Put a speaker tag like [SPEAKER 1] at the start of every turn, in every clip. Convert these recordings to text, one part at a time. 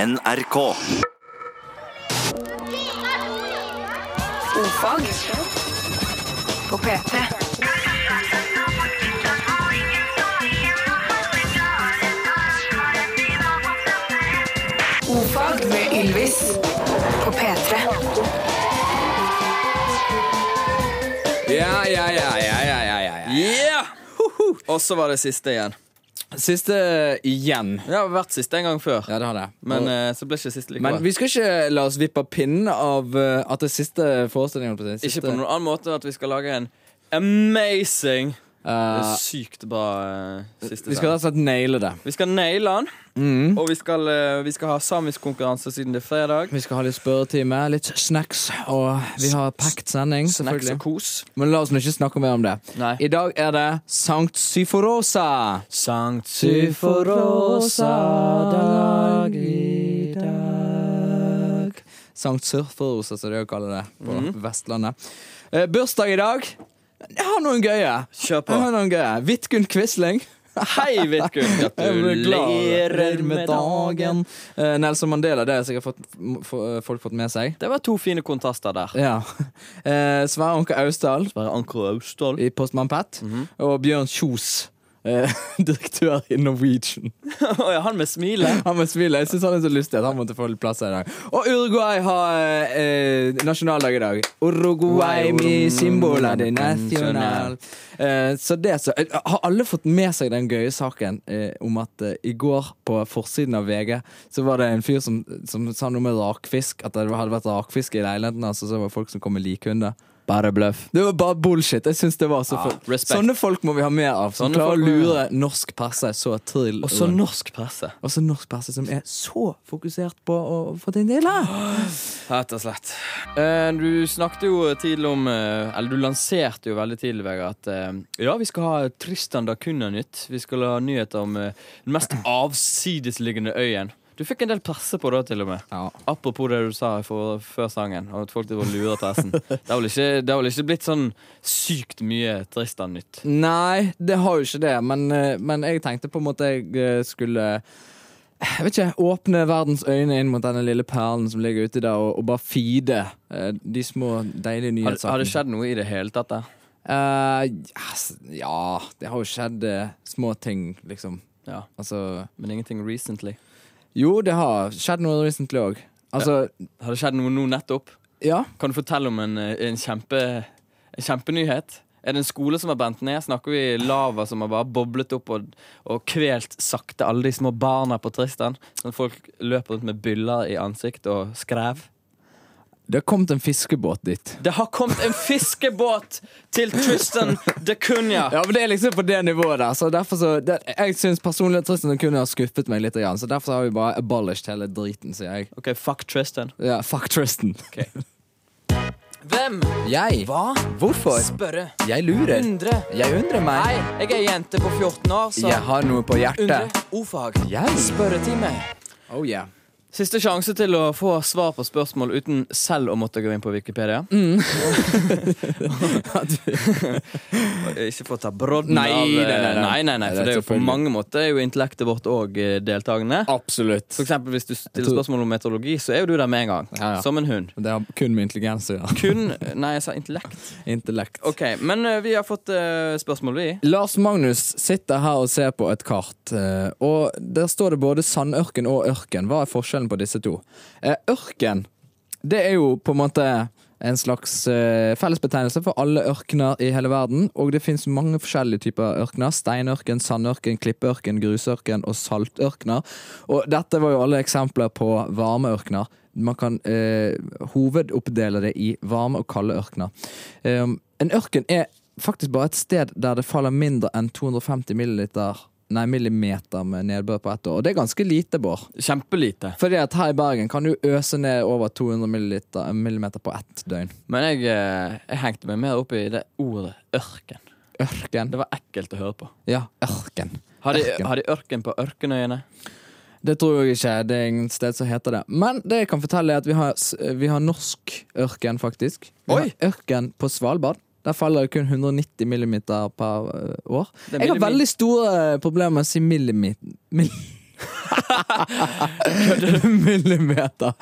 [SPEAKER 1] NRK.
[SPEAKER 2] Ofag på P3. Ofag med Ylvis på P3.
[SPEAKER 3] Ja, ja, ja, ja, ja, ja, ja, ja.
[SPEAKER 4] Yeah!
[SPEAKER 3] Og så var det siste igjen.
[SPEAKER 4] Siste Eh, igjen.
[SPEAKER 3] Jeg har vært siste en gang før,
[SPEAKER 4] Ja, det har det.
[SPEAKER 3] men
[SPEAKER 4] Og-
[SPEAKER 3] eh, så ble ikke siste
[SPEAKER 4] men
[SPEAKER 3] likevel.
[SPEAKER 4] vi skal ikke la oss vippe av pinnen av eh, at det er siste forestillingen holdt på å si,
[SPEAKER 3] ikke
[SPEAKER 4] siste-
[SPEAKER 3] på noen annen måte enn at vi skal lage en amazing
[SPEAKER 4] Eh,
[SPEAKER 3] Sykt bra eh, siste
[SPEAKER 4] Vi skal Mm. rett og slett naile det.
[SPEAKER 3] Vi skal naile den, og vi skal, eh, vi skal ha samisk konkurranse siden det er fredag.
[SPEAKER 4] Vi skal ha litt spørretime, litt snacks, og vi har packed sending.
[SPEAKER 3] Snacks og
[SPEAKER 4] selvfølgelig
[SPEAKER 3] kos.
[SPEAKER 4] Men la oss nå ikke snakke mer om det.
[SPEAKER 3] Nei.
[SPEAKER 4] I dag er det Sankt Syforosa.
[SPEAKER 3] Sankt
[SPEAKER 4] dag. Mhm. Sankt Surferosa, som de også kaller det på Vestlandet. Eh, bursdag i dag. Jeg har noen gøye.
[SPEAKER 3] Kjør på.
[SPEAKER 4] Jeg har noen gøye. Vidkun Quisling.
[SPEAKER 3] Hei, Vidkun. Gratulerer med dagen.
[SPEAKER 4] Eh, Nelson Mandela, det har sikkert fått, m- få- eh, folk fått med seg.
[SPEAKER 3] Det var to fine kontraster der.
[SPEAKER 4] Ja. Eh, Sverre Anker Austdal
[SPEAKER 3] Bare Anker Austdal.
[SPEAKER 4] i Postmann Pat.
[SPEAKER 3] Mhm.
[SPEAKER 4] Og Bjørn Kjos, eh, direktør i Norwegian.
[SPEAKER 3] Å ja, han med smilet.
[SPEAKER 4] Han må smile. Jeg syns han er så lystig at han måtte få litt plass her i dag. Og Uruguay har eh, nasjonaldag i dag. Uruguay
[SPEAKER 3] mm,
[SPEAKER 4] mi simbola de nacional. Eh, så det så, eh, Har alle fått med seg den gøye saken eh, om at eh, i går på forsiden av VG så var det en fyr som, som sa noe med rakfisk? At det hadde vært rakfisk i leiligheten hans, og så var det folk som kom med likhunder.
[SPEAKER 3] Bare bløff.
[SPEAKER 4] Det var bare bullshit. Jeg synes det var så
[SPEAKER 3] Ja,
[SPEAKER 4] for-
[SPEAKER 3] respekt.
[SPEAKER 4] Sånne folk må vi ha mer av. Som
[SPEAKER 3] Sånne
[SPEAKER 4] klarer å
[SPEAKER 3] folk må vi ha.
[SPEAKER 4] lure norsk presse så til
[SPEAKER 3] Og så norsk presse.
[SPEAKER 4] og så Altså, norsk presse som er så fokusert på å få til en del her.
[SPEAKER 3] Rett og slett. Eh, Du snakket jo tidlig om eh, Eller du lanserte jo veldig tidlig, Vegard, at eh, ja, vi skal ha Tristan da Cunha-nytt. Vi skal ha nyheter om eh, den mest avsidesliggende øyen. Du fikk en del presse på det, til og med.
[SPEAKER 4] Ja.
[SPEAKER 3] Apropos det du sa for, før sangen, om at folk driver og lurer pressen. Det har vel ikke, det har vel ikke blitt sånn sykt mye Tristan-nytt?
[SPEAKER 4] Nei, det har jo ikke det, men, eh, men jeg tenkte på en måte jeg eh, skulle jeg vet ikke, Åpne verdens øyne inn mot denne lille perlen som ligger uti der, og, og bare feede eh, de små, deilige
[SPEAKER 3] Har,
[SPEAKER 4] nyhetssakene.
[SPEAKER 3] har det skjedd noe i det hele tatt der?
[SPEAKER 4] Eh, yes, ja, det har jo skjedd eh, små ting, liksom.
[SPEAKER 3] Ja,
[SPEAKER 4] Altså
[SPEAKER 3] men ingenting recently.
[SPEAKER 4] Jo, det har skjedd noe recently òg. Altså,
[SPEAKER 3] Har det skjedd noe nå nettopp?
[SPEAKER 4] ja.
[SPEAKER 3] Kan du fortelle om en, eh, en, kjempe, en kjempenyhet? Er det en skole som har brent ned? Snakker vi lava som har bare boblet opp og, og kvelt sakte alle de små barna på Tristan? Sånn at folk løper rundt med byller i ansikt og skrev?
[SPEAKER 4] Det har kommet en fiskebåt dit.
[SPEAKER 3] Det har kommet en fiskebåt til Tristan de Cunha!
[SPEAKER 4] Ja, men det er liksom på det nivået der. Så derfor så, det, jeg syns personlig at Tristan kunne ha skuffet meg litt. Grann, så derfor har vi bare abolished hele driten, sier jeg.
[SPEAKER 3] OK, fuck Tristan.
[SPEAKER 4] Ja, fuck Tristan.
[SPEAKER 3] Hvem?
[SPEAKER 4] Jeg?
[SPEAKER 3] Hva?
[SPEAKER 4] Hvorfor?
[SPEAKER 3] Spørre.
[SPEAKER 4] Jeg lurer.
[SPEAKER 3] Undre.
[SPEAKER 4] Jeg undrer meg.
[SPEAKER 3] Nei, jeg er jente på 14 år, så
[SPEAKER 4] Jeg har noe på
[SPEAKER 3] Undre.
[SPEAKER 4] hjertet.
[SPEAKER 3] Ordfag.
[SPEAKER 4] Jeg?
[SPEAKER 3] Spørretime.
[SPEAKER 4] Oh yeah.
[SPEAKER 3] Siste sjanse til å få svar på spørsmål uten selv å måtte gå inn på Wikipedia.
[SPEAKER 4] Mm.
[SPEAKER 3] Ikke for å ta brodden
[SPEAKER 4] Nei,
[SPEAKER 3] av eh,
[SPEAKER 4] nei, nei, nei.
[SPEAKER 3] nei, nei, nei,
[SPEAKER 4] Nei,
[SPEAKER 3] for det er jo på
[SPEAKER 4] selvfølgelig.
[SPEAKER 3] mange måter er jo intellektet vårt òg deltakende.
[SPEAKER 4] Absolutt.
[SPEAKER 3] For eksempel hvis du stiller
[SPEAKER 4] tror-
[SPEAKER 3] spørsmål om meteorologi, så er jo du der med en gang.
[SPEAKER 4] Ja, ja.
[SPEAKER 3] Som en hund.
[SPEAKER 4] Det har kun med intelligens å gjøre.
[SPEAKER 3] Kun Nei, jeg sa intellekt.
[SPEAKER 4] Intellekt.
[SPEAKER 3] OK, men eh, vi har fått eh, spørsmål, vi.
[SPEAKER 4] Lars Magnus sitter her og ser på et kart, eh, og der står det både sandørken og ørken. Hva er forskjellen på disse to? Eh, Ørken, det er jo på en måte en slags eh, fellesbetegnelse for alle ørkener i hele verden, og det finnes mange forskjellige typer ørkener. Steinørken, sandørken, klippeørken, grusørken og saltørkener. Og dette var jo alle eksempler på varmeørkener. Man kan eh, hovedoppdele det i varme og kalde ørkener. Um, en ørken er faktisk bare et sted der det faller mindre enn 250 milliliter, nei, millimeter med nedbør på ett år. Og det er ganske lite, Bård.
[SPEAKER 3] Kjempelite.
[SPEAKER 4] Fordi at her i Bergen kan du øse ned over 200 milliliter, millimeter på ett døgn.
[SPEAKER 3] Men jeg, eh, jeg hengte meg mer opp i det ordet ørken.
[SPEAKER 4] Ørken.
[SPEAKER 3] Det var ekkelt å høre på.
[SPEAKER 4] Ja, ørken.
[SPEAKER 3] Har de,
[SPEAKER 4] Ørken.
[SPEAKER 3] har de ørken på ørkenøyene?
[SPEAKER 4] Det tror jeg ikke. Det er ingen sted som heter det. Men det jeg kan fortelle er at vi har, vi har norsk ørken, faktisk. Vi
[SPEAKER 3] Oi!
[SPEAKER 4] har ørken på Svalbard. Der faller det kun 190 millimeter per ø, år.
[SPEAKER 3] er
[SPEAKER 4] Jeg har eh,
[SPEAKER 3] millimeter.
[SPEAKER 4] veldig store problemer med å si millimeter. millimeter.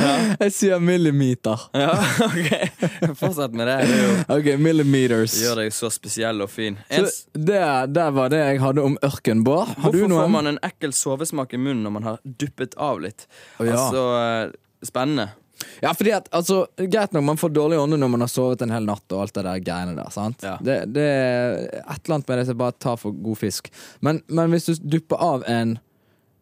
[SPEAKER 4] Jeg sier millimeter.
[SPEAKER 3] Ja, ok. Fortsett med det. Det er jo-
[SPEAKER 4] Ok, millimeters.
[SPEAKER 3] gjør deg så spesiell og fin. En,
[SPEAKER 4] Så det der var det jeg hadde om ørkenbår. Har du
[SPEAKER 3] hvorfor får
[SPEAKER 4] noen?
[SPEAKER 3] man en ekkel sovesmak i munnen når man har duppet av litt?
[SPEAKER 4] Å, ja.
[SPEAKER 3] Altså, eh, spennende.
[SPEAKER 4] Ja, fordi at, altså, Greit nok, man får dårlig ånde når man har sovet en hel natt og alt det der greiene der. sant?
[SPEAKER 3] Ja.
[SPEAKER 4] Det, det er et eller annet med det som bare tar for god fisk. Men, men hvis du dupper av en,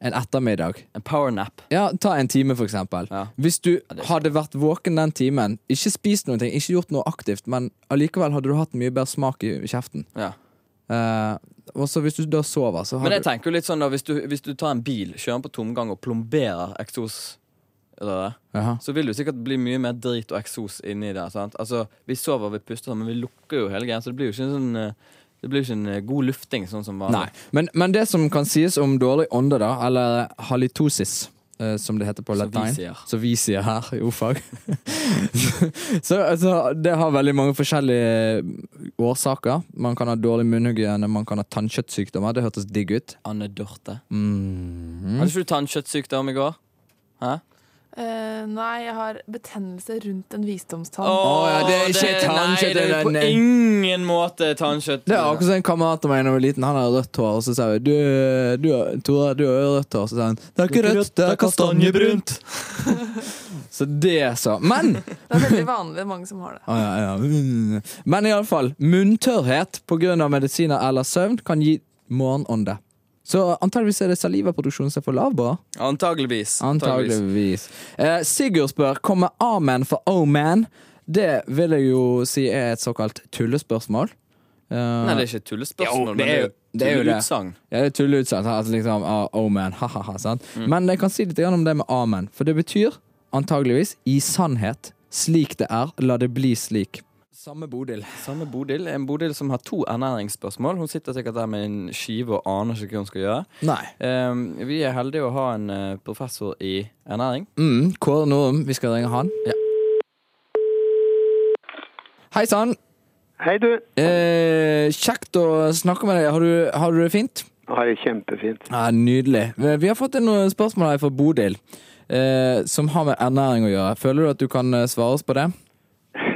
[SPEAKER 4] en ettermiddag
[SPEAKER 3] En powernap.
[SPEAKER 4] Ja, Ta en time, for eksempel.
[SPEAKER 3] Ja.
[SPEAKER 4] Hvis du
[SPEAKER 3] det er
[SPEAKER 4] hadde vært våken den timen, ikke spist noe, ikke gjort noe aktivt, men allikevel hadde du hatt mye bedre smak i kjeften.
[SPEAKER 3] Ja.
[SPEAKER 4] Eh, og så hvis du da sover, så har
[SPEAKER 3] Men jeg
[SPEAKER 4] du
[SPEAKER 3] tenker jo litt sånn da, hvis du, hvis du tar en bil, kjører den på tomgang og plomberer eksos, eller det,
[SPEAKER 4] Jaha.
[SPEAKER 3] så vil det jo sikkert bli mye mer drit og eksos inni der. sant? Altså, Vi sover, vi puster, sånn, men vi lukker jo hele greia, så det blir jo ikke en sånn eh, det blir jo ikke en eh, god lufting, sånn som vanlig.
[SPEAKER 4] Nei. Men, men det som kan sies om dårlig ånde, da, eller halitosis, eh, som det heter på
[SPEAKER 3] Som vi
[SPEAKER 4] latin
[SPEAKER 3] sier.
[SPEAKER 4] Som vi sier her i ordfag. så altså, det har veldig mange forskjellige årsaker. Man kan ha dårlig munnhygiene, man kan ha tannkjøttsykdommer. Det hørtes digg ut.
[SPEAKER 3] Anne Dorte.
[SPEAKER 4] Mm.
[SPEAKER 3] Hadde ikke du tannkjøttsykdom i går? Hæ?
[SPEAKER 1] Eh, nei, jeg har betennelse rundt en visdomstann.
[SPEAKER 3] Åh,
[SPEAKER 4] ja, det er ikke tannkjøtt,
[SPEAKER 3] Nei, det er jo
[SPEAKER 4] det er- eh,
[SPEAKER 3] på ingen måte tannkjøtt.
[SPEAKER 4] Det er akkurat som en kamerat av meg da jeg var liten. Han har rødt hår, og så sier vi du, du, har- Tore, du har jo rødt hår. Så sier han det er ikke rødt, det er kastanjebrunt. Så det, så. Men
[SPEAKER 1] Det er veldig vanlig mange som har det.
[SPEAKER 4] Å, ja, ja. Mm. Men iallfall, munntørrhet pga. medisiner eller søvn kan gi morgenånde. Så antageligvis er det salivaproduksjonen som er for lav, bra.
[SPEAKER 3] Antageligvis.
[SPEAKER 4] Antageligvis. Eh, Sigurd spør kommer amen for oh-man. Det vil jeg jo si er et såkalt tullespørsmål. Eh,
[SPEAKER 3] Nei, det er ikke et tullespørsmål,
[SPEAKER 4] Jo, det
[SPEAKER 3] men det
[SPEAKER 4] er
[SPEAKER 3] er
[SPEAKER 4] jo-
[SPEAKER 3] jo
[SPEAKER 4] det er jo det.
[SPEAKER 3] tulleutsagn.
[SPEAKER 4] Ja, det er tulleutsagn. sant? Altså liksom, ah, oh man, ha-ha-ha. sant?
[SPEAKER 3] Mm.
[SPEAKER 4] Men jeg kan si litt grann om det med amen. For det betyr antageligvis i sannhet. Slik det er, la det bli slik. Samme Bodil.
[SPEAKER 3] Samme Bodil. En Bodil som har to ernæringsspørsmål. Hun sitter sikkert der med en skive og aner ikke hva hun skal gjøre.
[SPEAKER 4] Nei.
[SPEAKER 3] Ehm, vi er heldige å ha en eh, professor i ernæring.
[SPEAKER 4] Mm, Kåre Norum, vi skal ringe han.
[SPEAKER 3] Ja.
[SPEAKER 4] Hei sann!
[SPEAKER 5] Hei, du.
[SPEAKER 4] Eh, kjekt å snakke med deg. Har du, har du det fint?
[SPEAKER 5] Jeg har det kjempefint.
[SPEAKER 4] Ja, Nydelig. Vi vi har fått inn noen spørsmål her fra Bodil, eh, som har med ernæring å gjøre. Føler du at du kan eh, svare oss på det?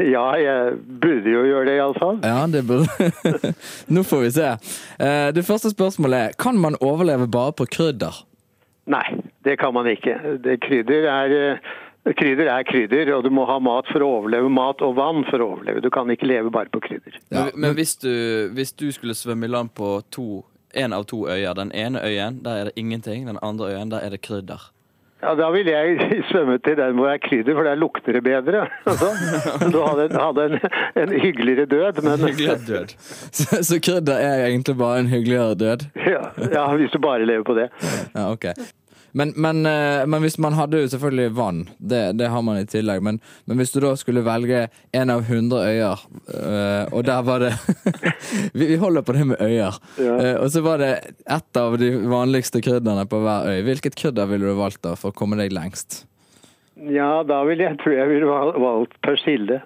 [SPEAKER 5] Ja, jeg burde jo gjøre det, iallfall.
[SPEAKER 4] Ja, det burde Nå får vi se. Eh, det første spørsmålet er Kan man overleve bare på krydder?
[SPEAKER 5] Nei, det kan man ikke. Det, krydder, er, eh, krydder er krydder, og du må ha mat for å overleve. Mat og vann for å overleve. Du kan ikke leve bare på krydder.
[SPEAKER 4] Ja,
[SPEAKER 3] men, men hvis, du, hvis du skulle svømme i land på to en av to øyer. Den ene øyen, der er det ingenting. Den andre øyen, der er det krydder.
[SPEAKER 5] Ja, Da ville jeg svømme til den hvor det er krydder, for der lukter det bedre. Så du hadde, hadde en, en hyggeligere død, men
[SPEAKER 3] Glad død.
[SPEAKER 4] Så, så krydder er egentlig bare en hyggeligere død?
[SPEAKER 5] ja, ja, hvis du bare lever på det.
[SPEAKER 4] Ja, ok. Men, men, eh, men hvis man hadde jo selvfølgelig vann, det, det har man i tillegg, men, men hvis du da skulle velge en av 100 øyer, eh, og der var det vi, vi holder på det med øyer.
[SPEAKER 5] Ja.
[SPEAKER 4] Eh, og så var det ett av de vanligste krydderne på hver øy. Hvilket krydder ville du valgt da for å komme deg lengst?
[SPEAKER 5] Ja, da ville jeg, tror jeg ville val- valgt persille.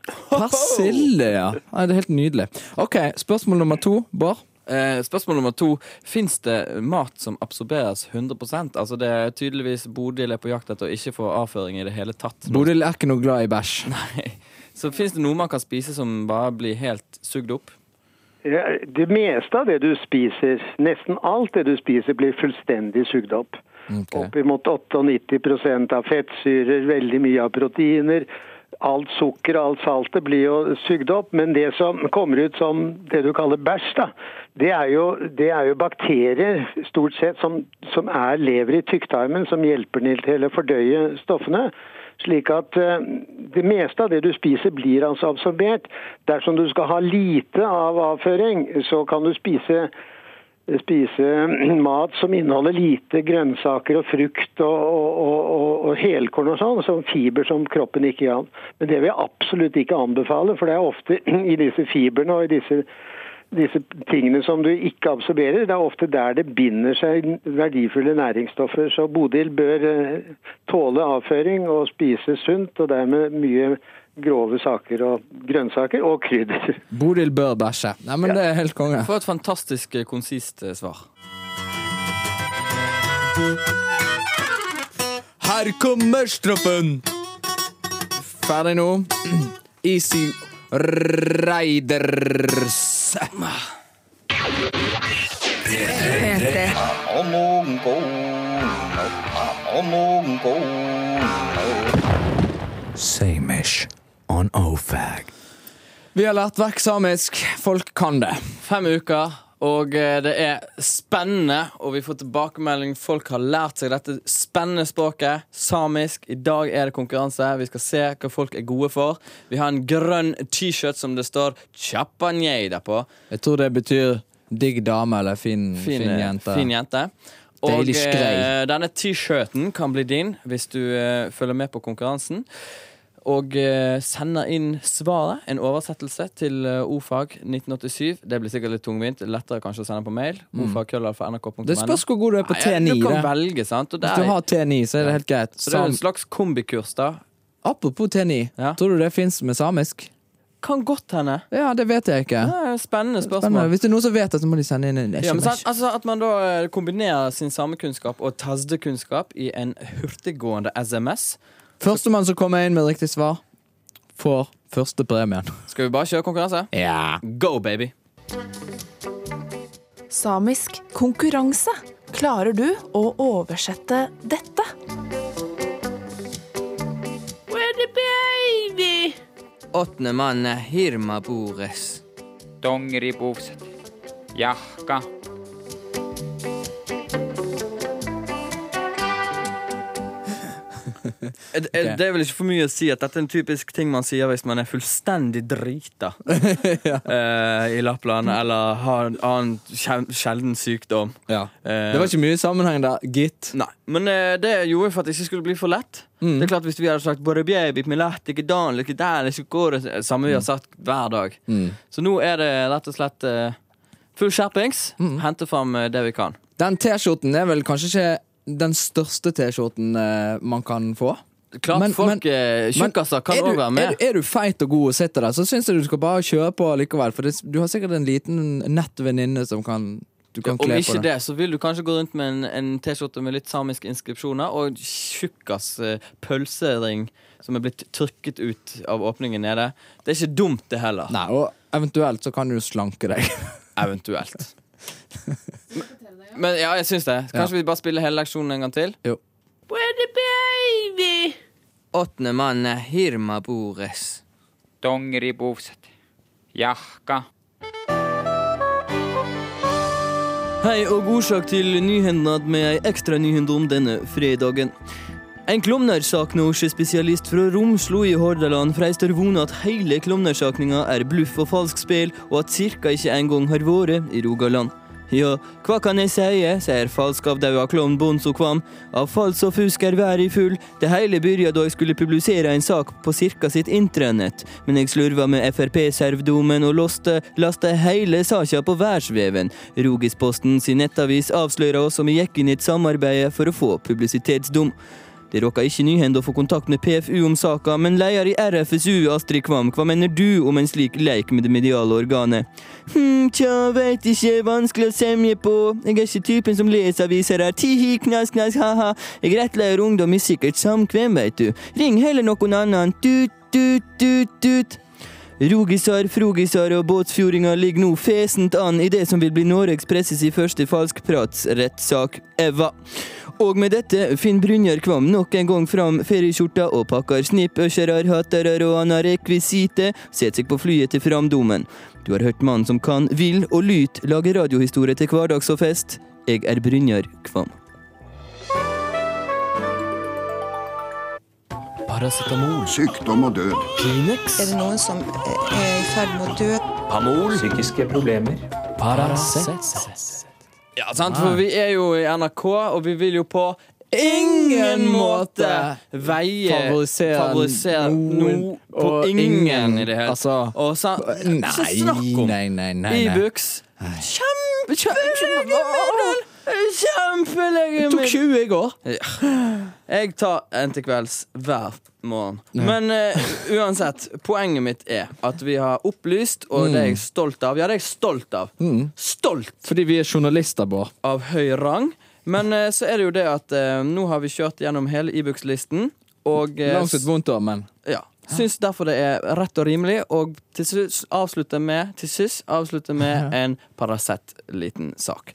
[SPEAKER 4] Persille, ja. Nei, det er helt nydelig. Ok, spørsmål nummer to, Bård.
[SPEAKER 3] Eh, spørsmål nummer to. Fins det mat som absorberes 100 Altså Det er tydeligvis Bodil er på jakt etter å ikke få avføring i det hele tatt.
[SPEAKER 4] Bodil er ikke noe glad i bæsj.
[SPEAKER 3] Nei. Så fins det noe man kan spise som bare blir helt sugd opp?
[SPEAKER 5] Ja, Det meste av det du spiser, nesten alt det du spiser, blir fullstendig sugd opp.
[SPEAKER 4] Ok.
[SPEAKER 5] Oppimot 98 av fettsyrer, veldig mye av proteiner. Alt sukker og alt saltet blir jo sugd opp, men det som kommer ut som det du kaller bæsj, da, det er jo, det er jo bakterier stort sett som, som er, lever i tykktarmen, som hjelper den til å fordøye stoffene. Slik at eh, det meste av det du spiser blir altså absorbert. Dersom du skal ha lite av avføring, så kan du spise, spise mat som inneholder lite grønnsaker og frukt og, og, og, og, og helkorn og sånn, som fiber som kroppen ikke kan. Men det vil jeg absolutt ikke anbefale, for det er ofte i disse fibrene og i disse disse tingene som du ikke absorberer, det er ofte der det binder seg verdifulle næringsstoffer. Så Bodil bør eh, tåle avføring og spise sunt, og dermed mye grove saker og grønnsaker og krydder.
[SPEAKER 4] Bodil bør bæsje. Nei, men det er helt konge.
[SPEAKER 3] For et fantastisk eh, konsist eh, svar.
[SPEAKER 4] her kommer straffen! Ferdig nå. Easy Raiders.
[SPEAKER 2] P3.
[SPEAKER 4] Samish on OFAG. Vi har lært vekk samisk. Folk kan det.
[SPEAKER 3] Fem uker, og eh, det er spennende. Og vi får tilbakemelding. Folk har lært seg dette spennende språket. Samisk. I dag er det konkurranse. Vi skal se hva folk er gode for. Vi har en grønn T-shirt som det står 'Chapanjeda' på.
[SPEAKER 4] Jeg tror det betyr digg dame eller fin, fin,
[SPEAKER 3] Fin, eh,
[SPEAKER 4] jente.
[SPEAKER 3] fin jente. Og
[SPEAKER 4] Deilig skrei.
[SPEAKER 3] eh, denne T-shirten kan bli din hvis du eh, følger med på konkurransen. Og eh, sender inn svaret, en oversettelse, til eh, ordfag 1987. Det blir sikkert litt tungvint. Lettere kanskje å sende på mail. Ordfag.nrk.no.
[SPEAKER 4] Mm. Det spørs hvor god du er på T9.
[SPEAKER 3] Du kan
[SPEAKER 4] da.
[SPEAKER 3] velge, sant. Og det
[SPEAKER 4] Hvis du
[SPEAKER 3] er,
[SPEAKER 4] har T9, så er det helt greit.
[SPEAKER 3] så det er
[SPEAKER 4] Sam-
[SPEAKER 3] jo en slags kombikurs, da.
[SPEAKER 4] Apropos T9,
[SPEAKER 3] Ja.
[SPEAKER 4] tror du det fins med samisk?
[SPEAKER 3] Kan godt hende.
[SPEAKER 4] Ja, det vet jeg ikke.
[SPEAKER 3] Det er et Spennende
[SPEAKER 4] Spennende.
[SPEAKER 3] spørsmål.
[SPEAKER 4] Hvis det er noen som vet det, så må de sende inn en
[SPEAKER 3] Ja, men sant,
[SPEAKER 4] SMS.
[SPEAKER 3] altså At man da eh, kombinerer sin samekunnskap og tazdekunnskap i en hurtiggående SMS.
[SPEAKER 4] Førstemann som kommer inn med riktig svar, får første premien.
[SPEAKER 3] Skal vi bare kjøre konkurranse?
[SPEAKER 4] Ja.
[SPEAKER 3] Go, baby!
[SPEAKER 1] Samisk konkurranse. Klarer du å oversette dette? Where the baby?
[SPEAKER 6] Åttende mann er Hirma Bores.
[SPEAKER 7] dongeripuuset, jahka,
[SPEAKER 3] Det er det er vel ikke for mye å si at dette er en typisk ting man sier hvis man er fullstendig drita eh, i Lappland, eller har en annen kjem- sjelden sykdom. Eh,
[SPEAKER 4] Det var ikke mye sammenheng der, gitt.
[SPEAKER 3] Nei, men eh, det gjorde jeg for at det ikke skulle bli for lett.
[SPEAKER 4] Mm.
[SPEAKER 3] Det er klart Hvis vi hadde sagt Både baby, milat, ikke dan, ikke der, ikke går, det samme
[SPEAKER 4] Mm.
[SPEAKER 3] vi har sagt hver dag. Så nå er det rett og slett eh, full skjerpings.
[SPEAKER 4] Mm.
[SPEAKER 3] Hente fram eh, det vi kan.
[SPEAKER 4] Den T-skjorten er vel kanskje ikke den største T-skjorten eh, man kan få.
[SPEAKER 3] Klart
[SPEAKER 4] Men- men-
[SPEAKER 3] folk eh,
[SPEAKER 4] Men
[SPEAKER 3] tjukkaser kan
[SPEAKER 4] er du-
[SPEAKER 3] òg være med.
[SPEAKER 4] Er, du- er du feit og god og sitter der, så syns jeg du skal bare kjøre på likevel. For det, du har sikkert en liten nett venninne som kan du kan
[SPEAKER 3] Om
[SPEAKER 4] kle
[SPEAKER 3] ikke
[SPEAKER 4] på.
[SPEAKER 3] det, så vil du kanskje gå rundt med en, en T-skjorte med litt samiske inskripsjoner og tjukkas eh, pølsering som er blitt trykket ut av åpningen nede. Det er ikke dumt, det heller.
[SPEAKER 4] Nei, og eventuelt så kan du slanke deg.
[SPEAKER 3] Eventuelt. Men, men ja, jeg syns det. Kanskje vi bare spiller hele leksjonen en gang til?
[SPEAKER 4] Jo.
[SPEAKER 6] Åttende mann er Hirma Bores.
[SPEAKER 7] dongeripuuset, jahka.
[SPEAKER 3] Hei og godsak til Nyhendad med ei ekstra nyhende om denne fredagen. En klovnersak-norsk-spesialist fra Romslo i Hordaland freister vone at hele klovnersakninga er bluff og falsk spill, og at cirka ikke engang har vært i Rogaland. Ja, hva kan jeg sie, sier falskavdaua klovn Bonzo Kvam. Av fals og fusk er været full, det hele begynte da jeg skulle publisere en sak på cirka sitt intranett, men jeg slurva med Frp-servdomen og loste, laste hele saka på værsveven. Rogisposten sin nettavis avslører oss som vi gikk inn i et samarbeid for å få publisitetsdom. Det råka ikke Nyhend å få kontakt med PFU om saka, men leder i RFSU, Astrid Kvam, hva mener du om en slik leik med det mediale organet? Hm, tja, veit ikke, vanskelig å semje på. Jeg er ikke typen som leser aviser her, tihi, knas, knas, ha-ha. Jeg rettleier ungdom i sikkert samkvem, veit du. Ring heller noen annen, tut, tut, tut, tut. Rogisar, frogisar og båtsfjordinger ligger nå fesent an i det som vil bli Noregs presses i første falskpratsrettssak, Eva. Og med dette finner Brynjar Kvam nok en gang fram ferieskjorta og pakker snippøsjerar, hattarar og anna rekvisite, setter seg på flyet til Framdomen. Du har hørt mannen som kan, vil og lyt lage radiohistorie til hverdags og fest. Jeg er Brynjar Kvam. Paracetamol.
[SPEAKER 8] Sykdom og død.
[SPEAKER 3] Kleenex.
[SPEAKER 9] Er det noen som eh, er i ferd med å dø?
[SPEAKER 3] Paracet. Ja, sant, for vi er jo i NRK, og vi vil jo på ingen måte veie
[SPEAKER 4] Favorisere
[SPEAKER 3] favorisere noen på
[SPEAKER 4] og
[SPEAKER 3] ingen,
[SPEAKER 4] ingen,
[SPEAKER 3] i det hele
[SPEAKER 4] altså.
[SPEAKER 3] Og sa,
[SPEAKER 4] Nei,
[SPEAKER 3] så snakk om
[SPEAKER 4] nei, nei, nei, nei.
[SPEAKER 3] Ibux. Kjempe, kjempe,
[SPEAKER 4] Jeg tok
[SPEAKER 3] kjempelege
[SPEAKER 4] 20 i går.
[SPEAKER 3] jeg tar en til kvelds hver morgen. Men eh, uansett, poenget mitt er at vi har opplyst, og
[SPEAKER 4] Mm.
[SPEAKER 3] det er jeg stolt av. Ja, det er jeg stolt av. Stolt
[SPEAKER 4] Fordi vi er journalister, Bård.
[SPEAKER 3] av høy rang. Men eh, så er det jo det at eh, nå har vi kjørt gjennom hele Ibux-listen, og eh,
[SPEAKER 4] Langt ut vondt år, men
[SPEAKER 3] ja. Syns derfor det er rett og rimelig å til slutt avslutte med, til sist avslutte med en Paracet-liten sak.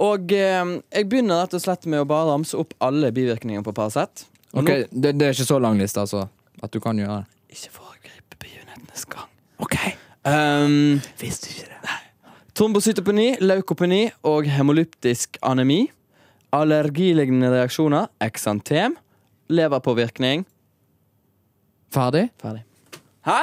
[SPEAKER 3] Og eh, jeg begynner rett og slett med å bare ramse opp alle bivirkningene på Paracet. Og
[SPEAKER 4] Ok, det, det er ikke så lang liste, altså. At du kan gjøre det.
[SPEAKER 3] nå ikke foregripe begivenhetenes gang. Um,
[SPEAKER 4] Visste ikke det.
[SPEAKER 3] Trombocytopeni, leukopeni og hemolyptisk anemi. Allergilignende reaksjoner, eksantem, leverpåvirkning.
[SPEAKER 4] Ferdig?
[SPEAKER 3] Ferdig. Hæ?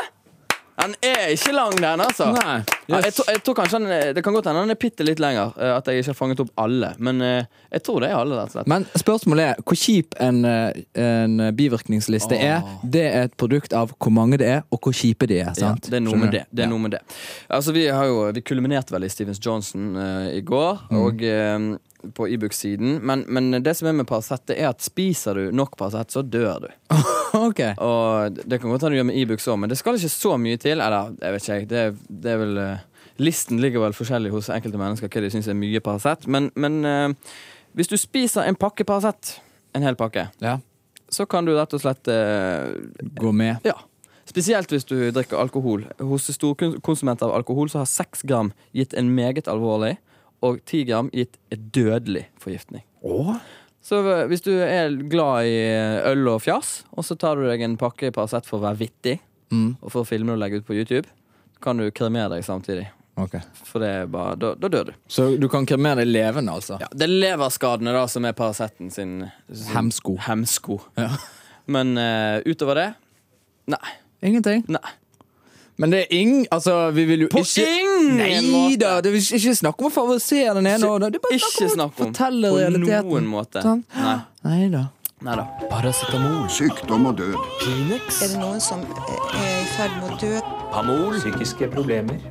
[SPEAKER 3] Den er ikke lang, den, altså.
[SPEAKER 4] Nei.
[SPEAKER 3] Ja, jeg, tror, jeg tror kanskje han, er- Det kan godt hende han er bitte litt lenger. eh, At jeg ikke har fanget opp alle. Men eh, jeg tror det er alle. rett og slett
[SPEAKER 4] Men spørsmålet er hvor kjip en, eh, en bivirkningsliste er. Det er et produkt av hvor mange det er, og hvor kjipe de er.
[SPEAKER 3] Ah. ja,
[SPEAKER 4] sant?
[SPEAKER 3] det er noe
[SPEAKER 4] Skjønner
[SPEAKER 3] med
[SPEAKER 4] du?
[SPEAKER 3] det. det, er
[SPEAKER 4] Ja.
[SPEAKER 3] noe med det. Altså, vi, har jo, vi kulminerte vel i Stevens Johnson eh, i går,
[SPEAKER 4] Mm.
[SPEAKER 3] og eh, på Ibux-siden. Men, men det som er med Paracet, det er at spiser du nok Paracet, så dør du.
[SPEAKER 4] Ok.
[SPEAKER 3] Og det kan godt hende du gjør med Ibux òg, men det skal ikke så mye til. Eller, jeg vet ikke, jeg. Det, er- det er vel eh, Listen ligger vel forskjellig hos enkelte mennesker hva de syns er mye Paracet. Men, men eh, hvis du spiser en pakke Paracet, en hel pakke,
[SPEAKER 4] Ja.
[SPEAKER 3] så kan du rett og slett eh,
[SPEAKER 4] Gå med.
[SPEAKER 3] Ja. Spesielt hvis du drikker alkohol. Hos storkonsumenter av alkohol så har seks gram gitt en meget alvorlig, og ti gram gitt en dødelig forgiftning. Så eh, hvis du er glad i øl og fjas, og så tar du deg en pakke Paracet for å være vittig,
[SPEAKER 4] Mm.
[SPEAKER 3] og for å filme og legge ut på YouTube, kan du kremere deg samtidig.
[SPEAKER 4] Ok.
[SPEAKER 3] For det er bare, da, da dør du.
[SPEAKER 4] Så du kan kremere deg levende, altså?
[SPEAKER 3] Ja, det er leverskadene da som er Paraceten sin, sin
[SPEAKER 4] Hemsko.
[SPEAKER 3] hemsko.
[SPEAKER 4] Ja.
[SPEAKER 3] Men eh, utover det Nei.
[SPEAKER 4] Ingenting.
[SPEAKER 3] Nei.
[SPEAKER 4] Men det er ingen Altså, vi vil jo
[SPEAKER 3] På
[SPEAKER 4] ikke
[SPEAKER 3] ingen
[SPEAKER 4] Nei
[SPEAKER 3] måte!
[SPEAKER 4] da! Det er ikke snakk om å favorisere den ene. og den- Det er bare
[SPEAKER 3] Ikke snakk om
[SPEAKER 4] fortelle
[SPEAKER 3] på
[SPEAKER 4] realiteten.
[SPEAKER 3] noen måte.
[SPEAKER 4] Sant?
[SPEAKER 3] Nei.
[SPEAKER 4] Nei da.
[SPEAKER 3] Neida.
[SPEAKER 2] Sykdom og død.
[SPEAKER 9] Er det noen som eh, er i ferd med å dø?
[SPEAKER 8] Psykiske problemer.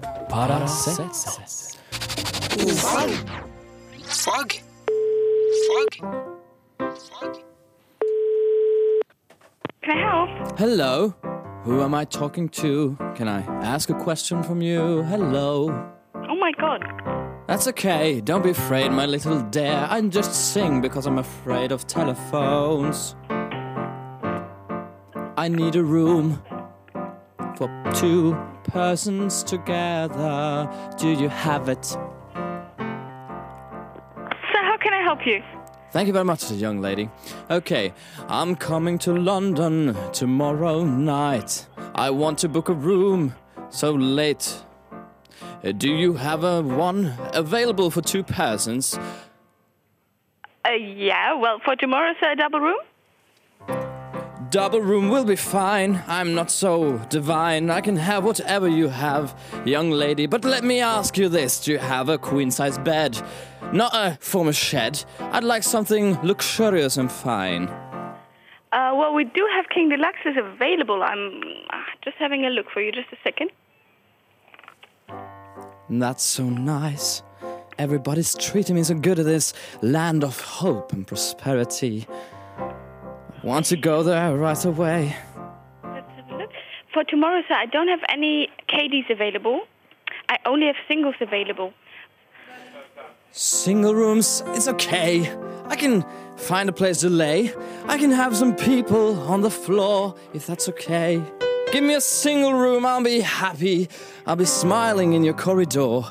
[SPEAKER 3] Hello. Who am I talking to? Can I ask a question from you? Hello.
[SPEAKER 10] Oh my god.
[SPEAKER 3] That's okay. Don't be afraid, my little dear. I just sing because I'm afraid of telephones. I need a room for two persons together. Do you have it?
[SPEAKER 10] So how can I help you?
[SPEAKER 3] Thank you very much, young lady. Okay, I'm coming to London tomorrow night. I want to book a room so late. Uh, Do you have a one available for two persons?
[SPEAKER 10] Uh, yeah, well, for tomorrow's uh, double room?
[SPEAKER 3] Double room will be fine. I'm not so divine. I can have whatever you have, young lady. But let me ask you this do you have a queen size bed? Not a former shed. I'd like something luxurious and fine.
[SPEAKER 10] Uh, well, we do have King Deluxes available. I'm uh, just having a look for you, just a second.
[SPEAKER 3] That's so nice. Everybody's treating me so good at this land of hope and prosperity. Want to go there right away?
[SPEAKER 10] Let's have a look. For tomorrow, sir, I don't have any KDs available. I only have singles available.
[SPEAKER 3] Single rooms, it's okay. I can find a place to lay. I can have some people on the floor if that's okay. Give me a single room, I'll be happy. I'll be smiling in your corridor.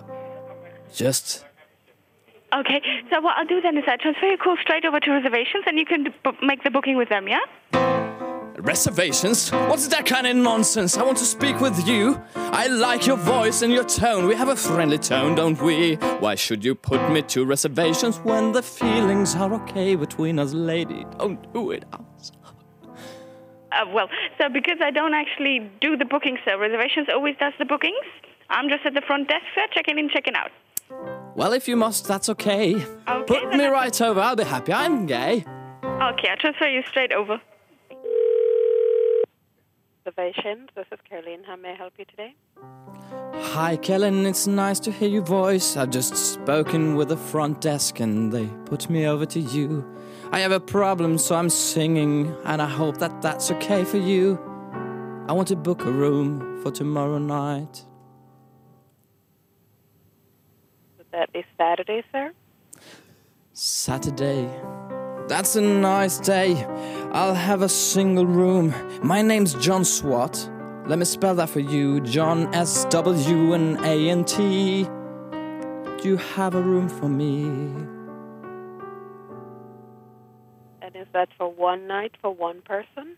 [SPEAKER 3] Just
[SPEAKER 10] Okay, so what I'll do then is I transfer your call straight over to reservations and you can d- bo- make the booking with them, yeah?
[SPEAKER 3] Reservations? What's that kind of nonsense? I want to speak with you. I like your voice and your tone. We have a friendly tone, don't we? Why should you put me to reservations when the feelings are okay between us, lady? Don't do it. I'm sorry.
[SPEAKER 10] Uh, well, so because I don't actually do the bookings, sir, reservations always does the bookings. I'm just at the front desk, sir, checking in, checking out.
[SPEAKER 3] Well, if you must, that's okay. put
[SPEAKER 10] then
[SPEAKER 3] me
[SPEAKER 10] I-
[SPEAKER 3] right over. I'll be happy. I'm gay.
[SPEAKER 10] Okay, I'll transfer you straight over.
[SPEAKER 11] Reservations. This is Caroline. How may I help you today?
[SPEAKER 3] Hi, Kellen. It's nice to hear your voice. I've just spoken with the front desk and they put me over to you. I have a problem, so I'm singing, and I hope that that's okay for you. I want to book a room for tomorrow night.
[SPEAKER 11] Would that be Saturday, sir?
[SPEAKER 4] Saturday. That's a nice day. I'll have a single room. My name's John Swat. Let me spell that for you John S W N A N T. Do you have a room for me?
[SPEAKER 11] And is that for one night for one person?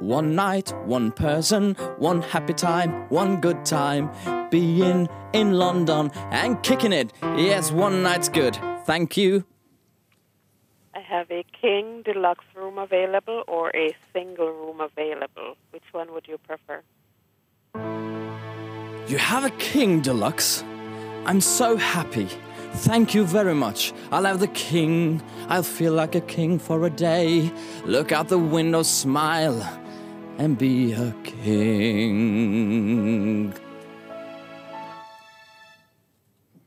[SPEAKER 4] One night, one person, one happy time, one good time. Being in London and kicking it. Yes, one night's good. Thank you.
[SPEAKER 11] I have a king deluxe room available or a single room available. Which one would you prefer?
[SPEAKER 4] You have a king deluxe. I'm so happy. Thank you very much. I'll have the king. I'll feel like a king for a day. Look out the window, smile, and be a king.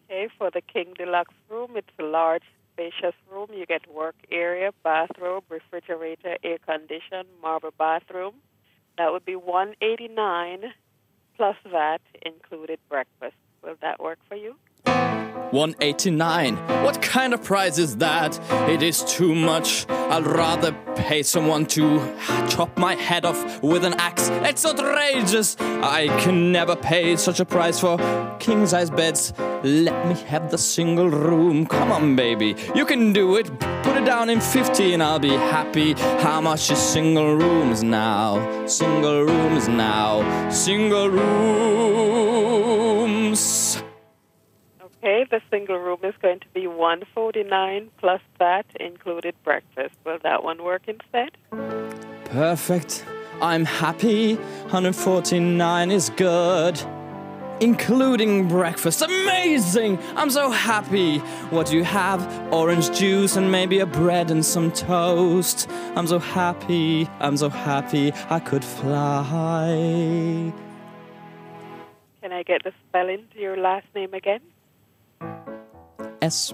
[SPEAKER 11] Okay, for the king deluxe room, it's a large, spacious room. You get work area, bathrobe, refrigerator, air condition, marble bathroom. That would be 189 plus that included breakfast. Will that work for you?
[SPEAKER 4] 189. What kind of price is that? It is too much. I'd rather pay someone to chop my head off with an axe. It's outrageous. I can never pay such a price for king size beds. Let me have the single room. Come on, baby. You can do it. Put it down in 50 and I'll be happy. How much is single rooms now? Single rooms now. Single rooms.
[SPEAKER 11] Okay, the single room is going to be 149 plus that included breakfast. Will that one work instead?
[SPEAKER 4] Perfect. I'm happy. 149 is good. Including breakfast. Amazing! I'm so happy. What do you have? Orange juice and maybe a bread and some toast. I'm so happy. I'm so happy. I could fly.
[SPEAKER 11] Can I get the spelling to your last name again?
[SPEAKER 4] S.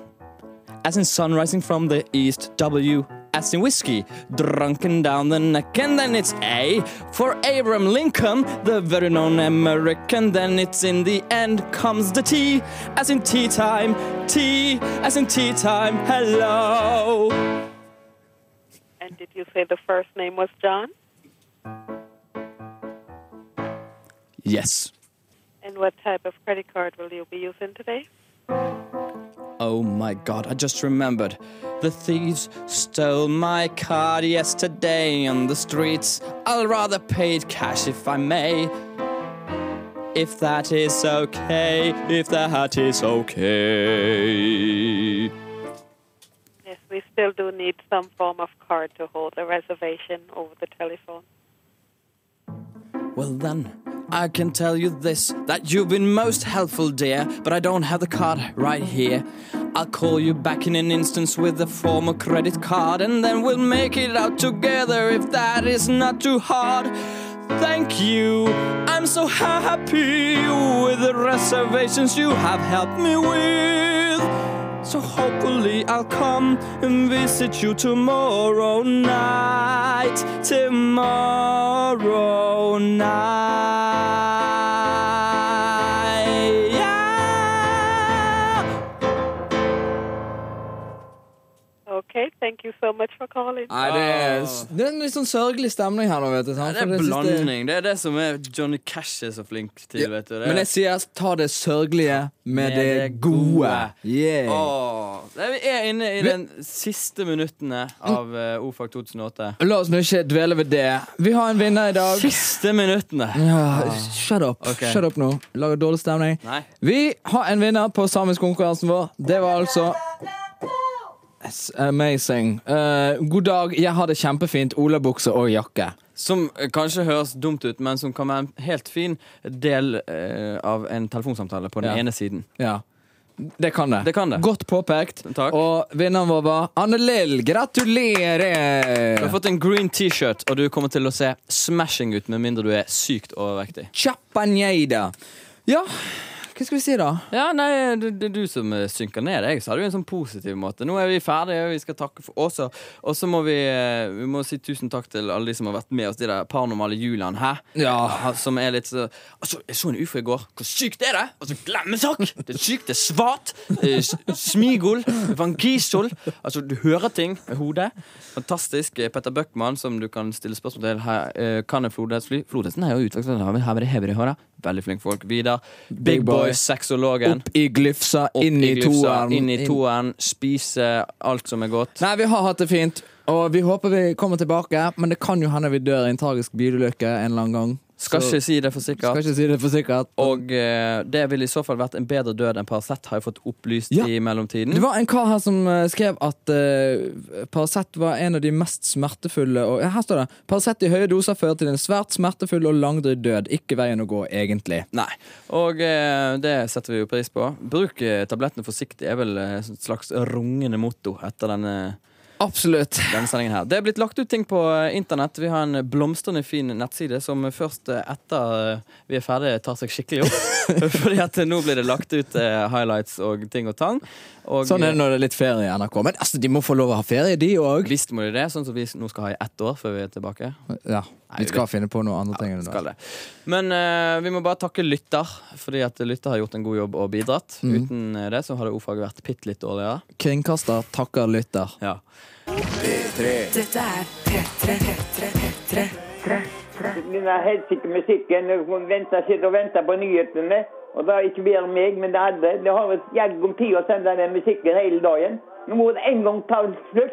[SPEAKER 4] As in sun rising from the east, W. As in whiskey, drunken down the neck, and then it's A. For Abraham Lincoln, the very known American, then it's in the end comes the T. As in tea time, T. As in tea time, hello.
[SPEAKER 11] And did you say the first name was John?
[SPEAKER 4] Yes.
[SPEAKER 11] And what type of credit card will you be using today?
[SPEAKER 4] Oh my god, I just remembered. The thieves stole my card yesterday on the streets. I'll rather pay it cash if I may. If that is okay, if that is okay.
[SPEAKER 11] Yes, we still do need some form of card to hold a reservation over the telephone.
[SPEAKER 4] Well then, I can tell you this that you've been most helpful, dear, but I don't have the card right here. I'll call you back in an instance with the former credit card, and then we'll make it out together if that is not too hard. Thank you, I'm so happy with the reservations you have helped me with. So hopefully I'll come and visit you tomorrow night. Tomorrow night. Yeah.
[SPEAKER 11] Okay, thank you so much for calling.
[SPEAKER 12] Nei, det er, det er en litt sånn sørgelig stemning her nå, vet du. sant? For
[SPEAKER 3] Det er
[SPEAKER 12] jeg synes det-
[SPEAKER 3] blanding. Det er det som er Johnny Cash er så flink til, vet du. Det.
[SPEAKER 12] Men jeg sier ta det sørgelige med,
[SPEAKER 3] Med
[SPEAKER 12] det,
[SPEAKER 3] det
[SPEAKER 12] gode.
[SPEAKER 3] gode.
[SPEAKER 12] Yeah.
[SPEAKER 3] Åh, det er vi er inne i den siste minuttene av eh, Ofag 2008.
[SPEAKER 12] La oss nå ikke dvele ved det. Vi har en vinner i dag.
[SPEAKER 3] Siste minuttene!
[SPEAKER 12] Ja, Eh, shut up.
[SPEAKER 3] Ok.
[SPEAKER 12] Shut up nå. Lager dårlig stemning.
[SPEAKER 3] Nei.
[SPEAKER 12] Vi har en vinner på samiskkonkurransen vår. Det var altså That's Amazing. Eh, god dag, jeg har det kjempefint. Olabukse og jakke.
[SPEAKER 3] Som eh, kanskje høres dumt ut, men som kan være en helt fin del eh, av en telefonsamtale på den
[SPEAKER 12] Ja.
[SPEAKER 3] ene siden.
[SPEAKER 12] Ja. Det kan det.
[SPEAKER 3] Det kan det.
[SPEAKER 12] Godt påpekt.
[SPEAKER 3] Takk.
[SPEAKER 12] Og vinneren vår var Anne Lill.
[SPEAKER 3] Du har
[SPEAKER 12] Gratulerer!
[SPEAKER 3] fått en green T-shirt, og du kommer til å se smashing ut med mindre du er sykt overvektig.
[SPEAKER 12] Chapanjeda. Ja, hva
[SPEAKER 4] Hva skal vi si, da?
[SPEAKER 3] Ja, nei, du- Det er du som eh, synker ned. Jeg sa det jo en sånn positiv måte. Nå er vi ferdige, vi skal takke for oss. og- Og så må vi, eh, vi må si tusen takk til alle de som har vært med oss de der paranormale julene. Hæ?
[SPEAKER 4] Ja.
[SPEAKER 3] Ah, Som er litt så altså, Jeg så en ufo i går. Hvor sykt er det? Altså, Glemmesak! Det er sykt, det er svart. eh, s- Smigol. Van Gisol. Altså, du hører ting med hodet. Fantastisk. Eh, Petter Bøckmann, som du kan stille spørsmål til. Her, eh, kan en flodhest fly? Flodhesten er jo utvekslet. Her er det hever i håret. Veldig flink folk. Vidar. Big
[SPEAKER 4] Big boy.
[SPEAKER 3] Boy, sexologen.
[SPEAKER 4] Opp i glyfsa,
[SPEAKER 3] Opp
[SPEAKER 4] inn i
[SPEAKER 3] glyfsa,
[SPEAKER 4] toeren.
[SPEAKER 3] Inn i toeren, spise alt som er godt.
[SPEAKER 4] Nei, vi har hatt det fint, og vi håper vi kommer tilbake. Men det kan jo hende vi dør i en tragisk bilulykke en eller annen gang.
[SPEAKER 3] Skal
[SPEAKER 4] Så-
[SPEAKER 3] ikke si det for sikkert.
[SPEAKER 4] skal ikke si det for sikkert.
[SPEAKER 3] Og eh, det ville i så fall vært en bedre død enn Paracet, har jeg fått opplyst
[SPEAKER 4] Ja.
[SPEAKER 3] i mellomtiden.
[SPEAKER 4] Det var en kar her som eh, skrev at uh, Paracet var en av de mest smertefulle og, Her står det. Paracet i høye doser fører til en svært smertefull og langdryg død. Ikke veien å gå, egentlig.
[SPEAKER 3] Nei. Og eh, det setter vi jo pris på. Bruk eh, tablettene forsiktig er vel eh, et slags rungende motto etter denne
[SPEAKER 4] Absolutt.
[SPEAKER 3] denne sendingen her. Det er blitt lagt ut ting på eh, internett. Vi har en blomstrende fin nettside som først eh, etter eh, vi er ferdige, tar seg skikkelig opp. Fordi at eh, nå blir det lagt ut eh, highlights og ting og tang. Og,
[SPEAKER 4] Sånn er det når det er litt ferie i NRK. Men altså, de må få lov å ha ferie, de
[SPEAKER 3] eh,
[SPEAKER 4] òg.
[SPEAKER 3] Visst må de det, sånn som vi nå skal ha i ett år før vi er tilbake.
[SPEAKER 4] Ja, vi skal finne på noe andre ting. enn det.
[SPEAKER 3] Skal det. Men eh, vi må bare takke lytter, fordi at lytter har gjort en god jobb og bidratt.
[SPEAKER 4] Mhm.
[SPEAKER 3] Uten eh, det så hadde ordfaget vært bitte litt dårligere.
[SPEAKER 4] Kringkaster takker lytter.
[SPEAKER 3] Ja.
[SPEAKER 13] Dette er P3.
[SPEAKER 14] Den er helsike musikken. Hun venter, sitter og venter på nyhetene. Og det er ikke bare meg, men det er andre. Det har et jaggu tid å sende den musikken hele dagen. Nå må det en gang ta slutt.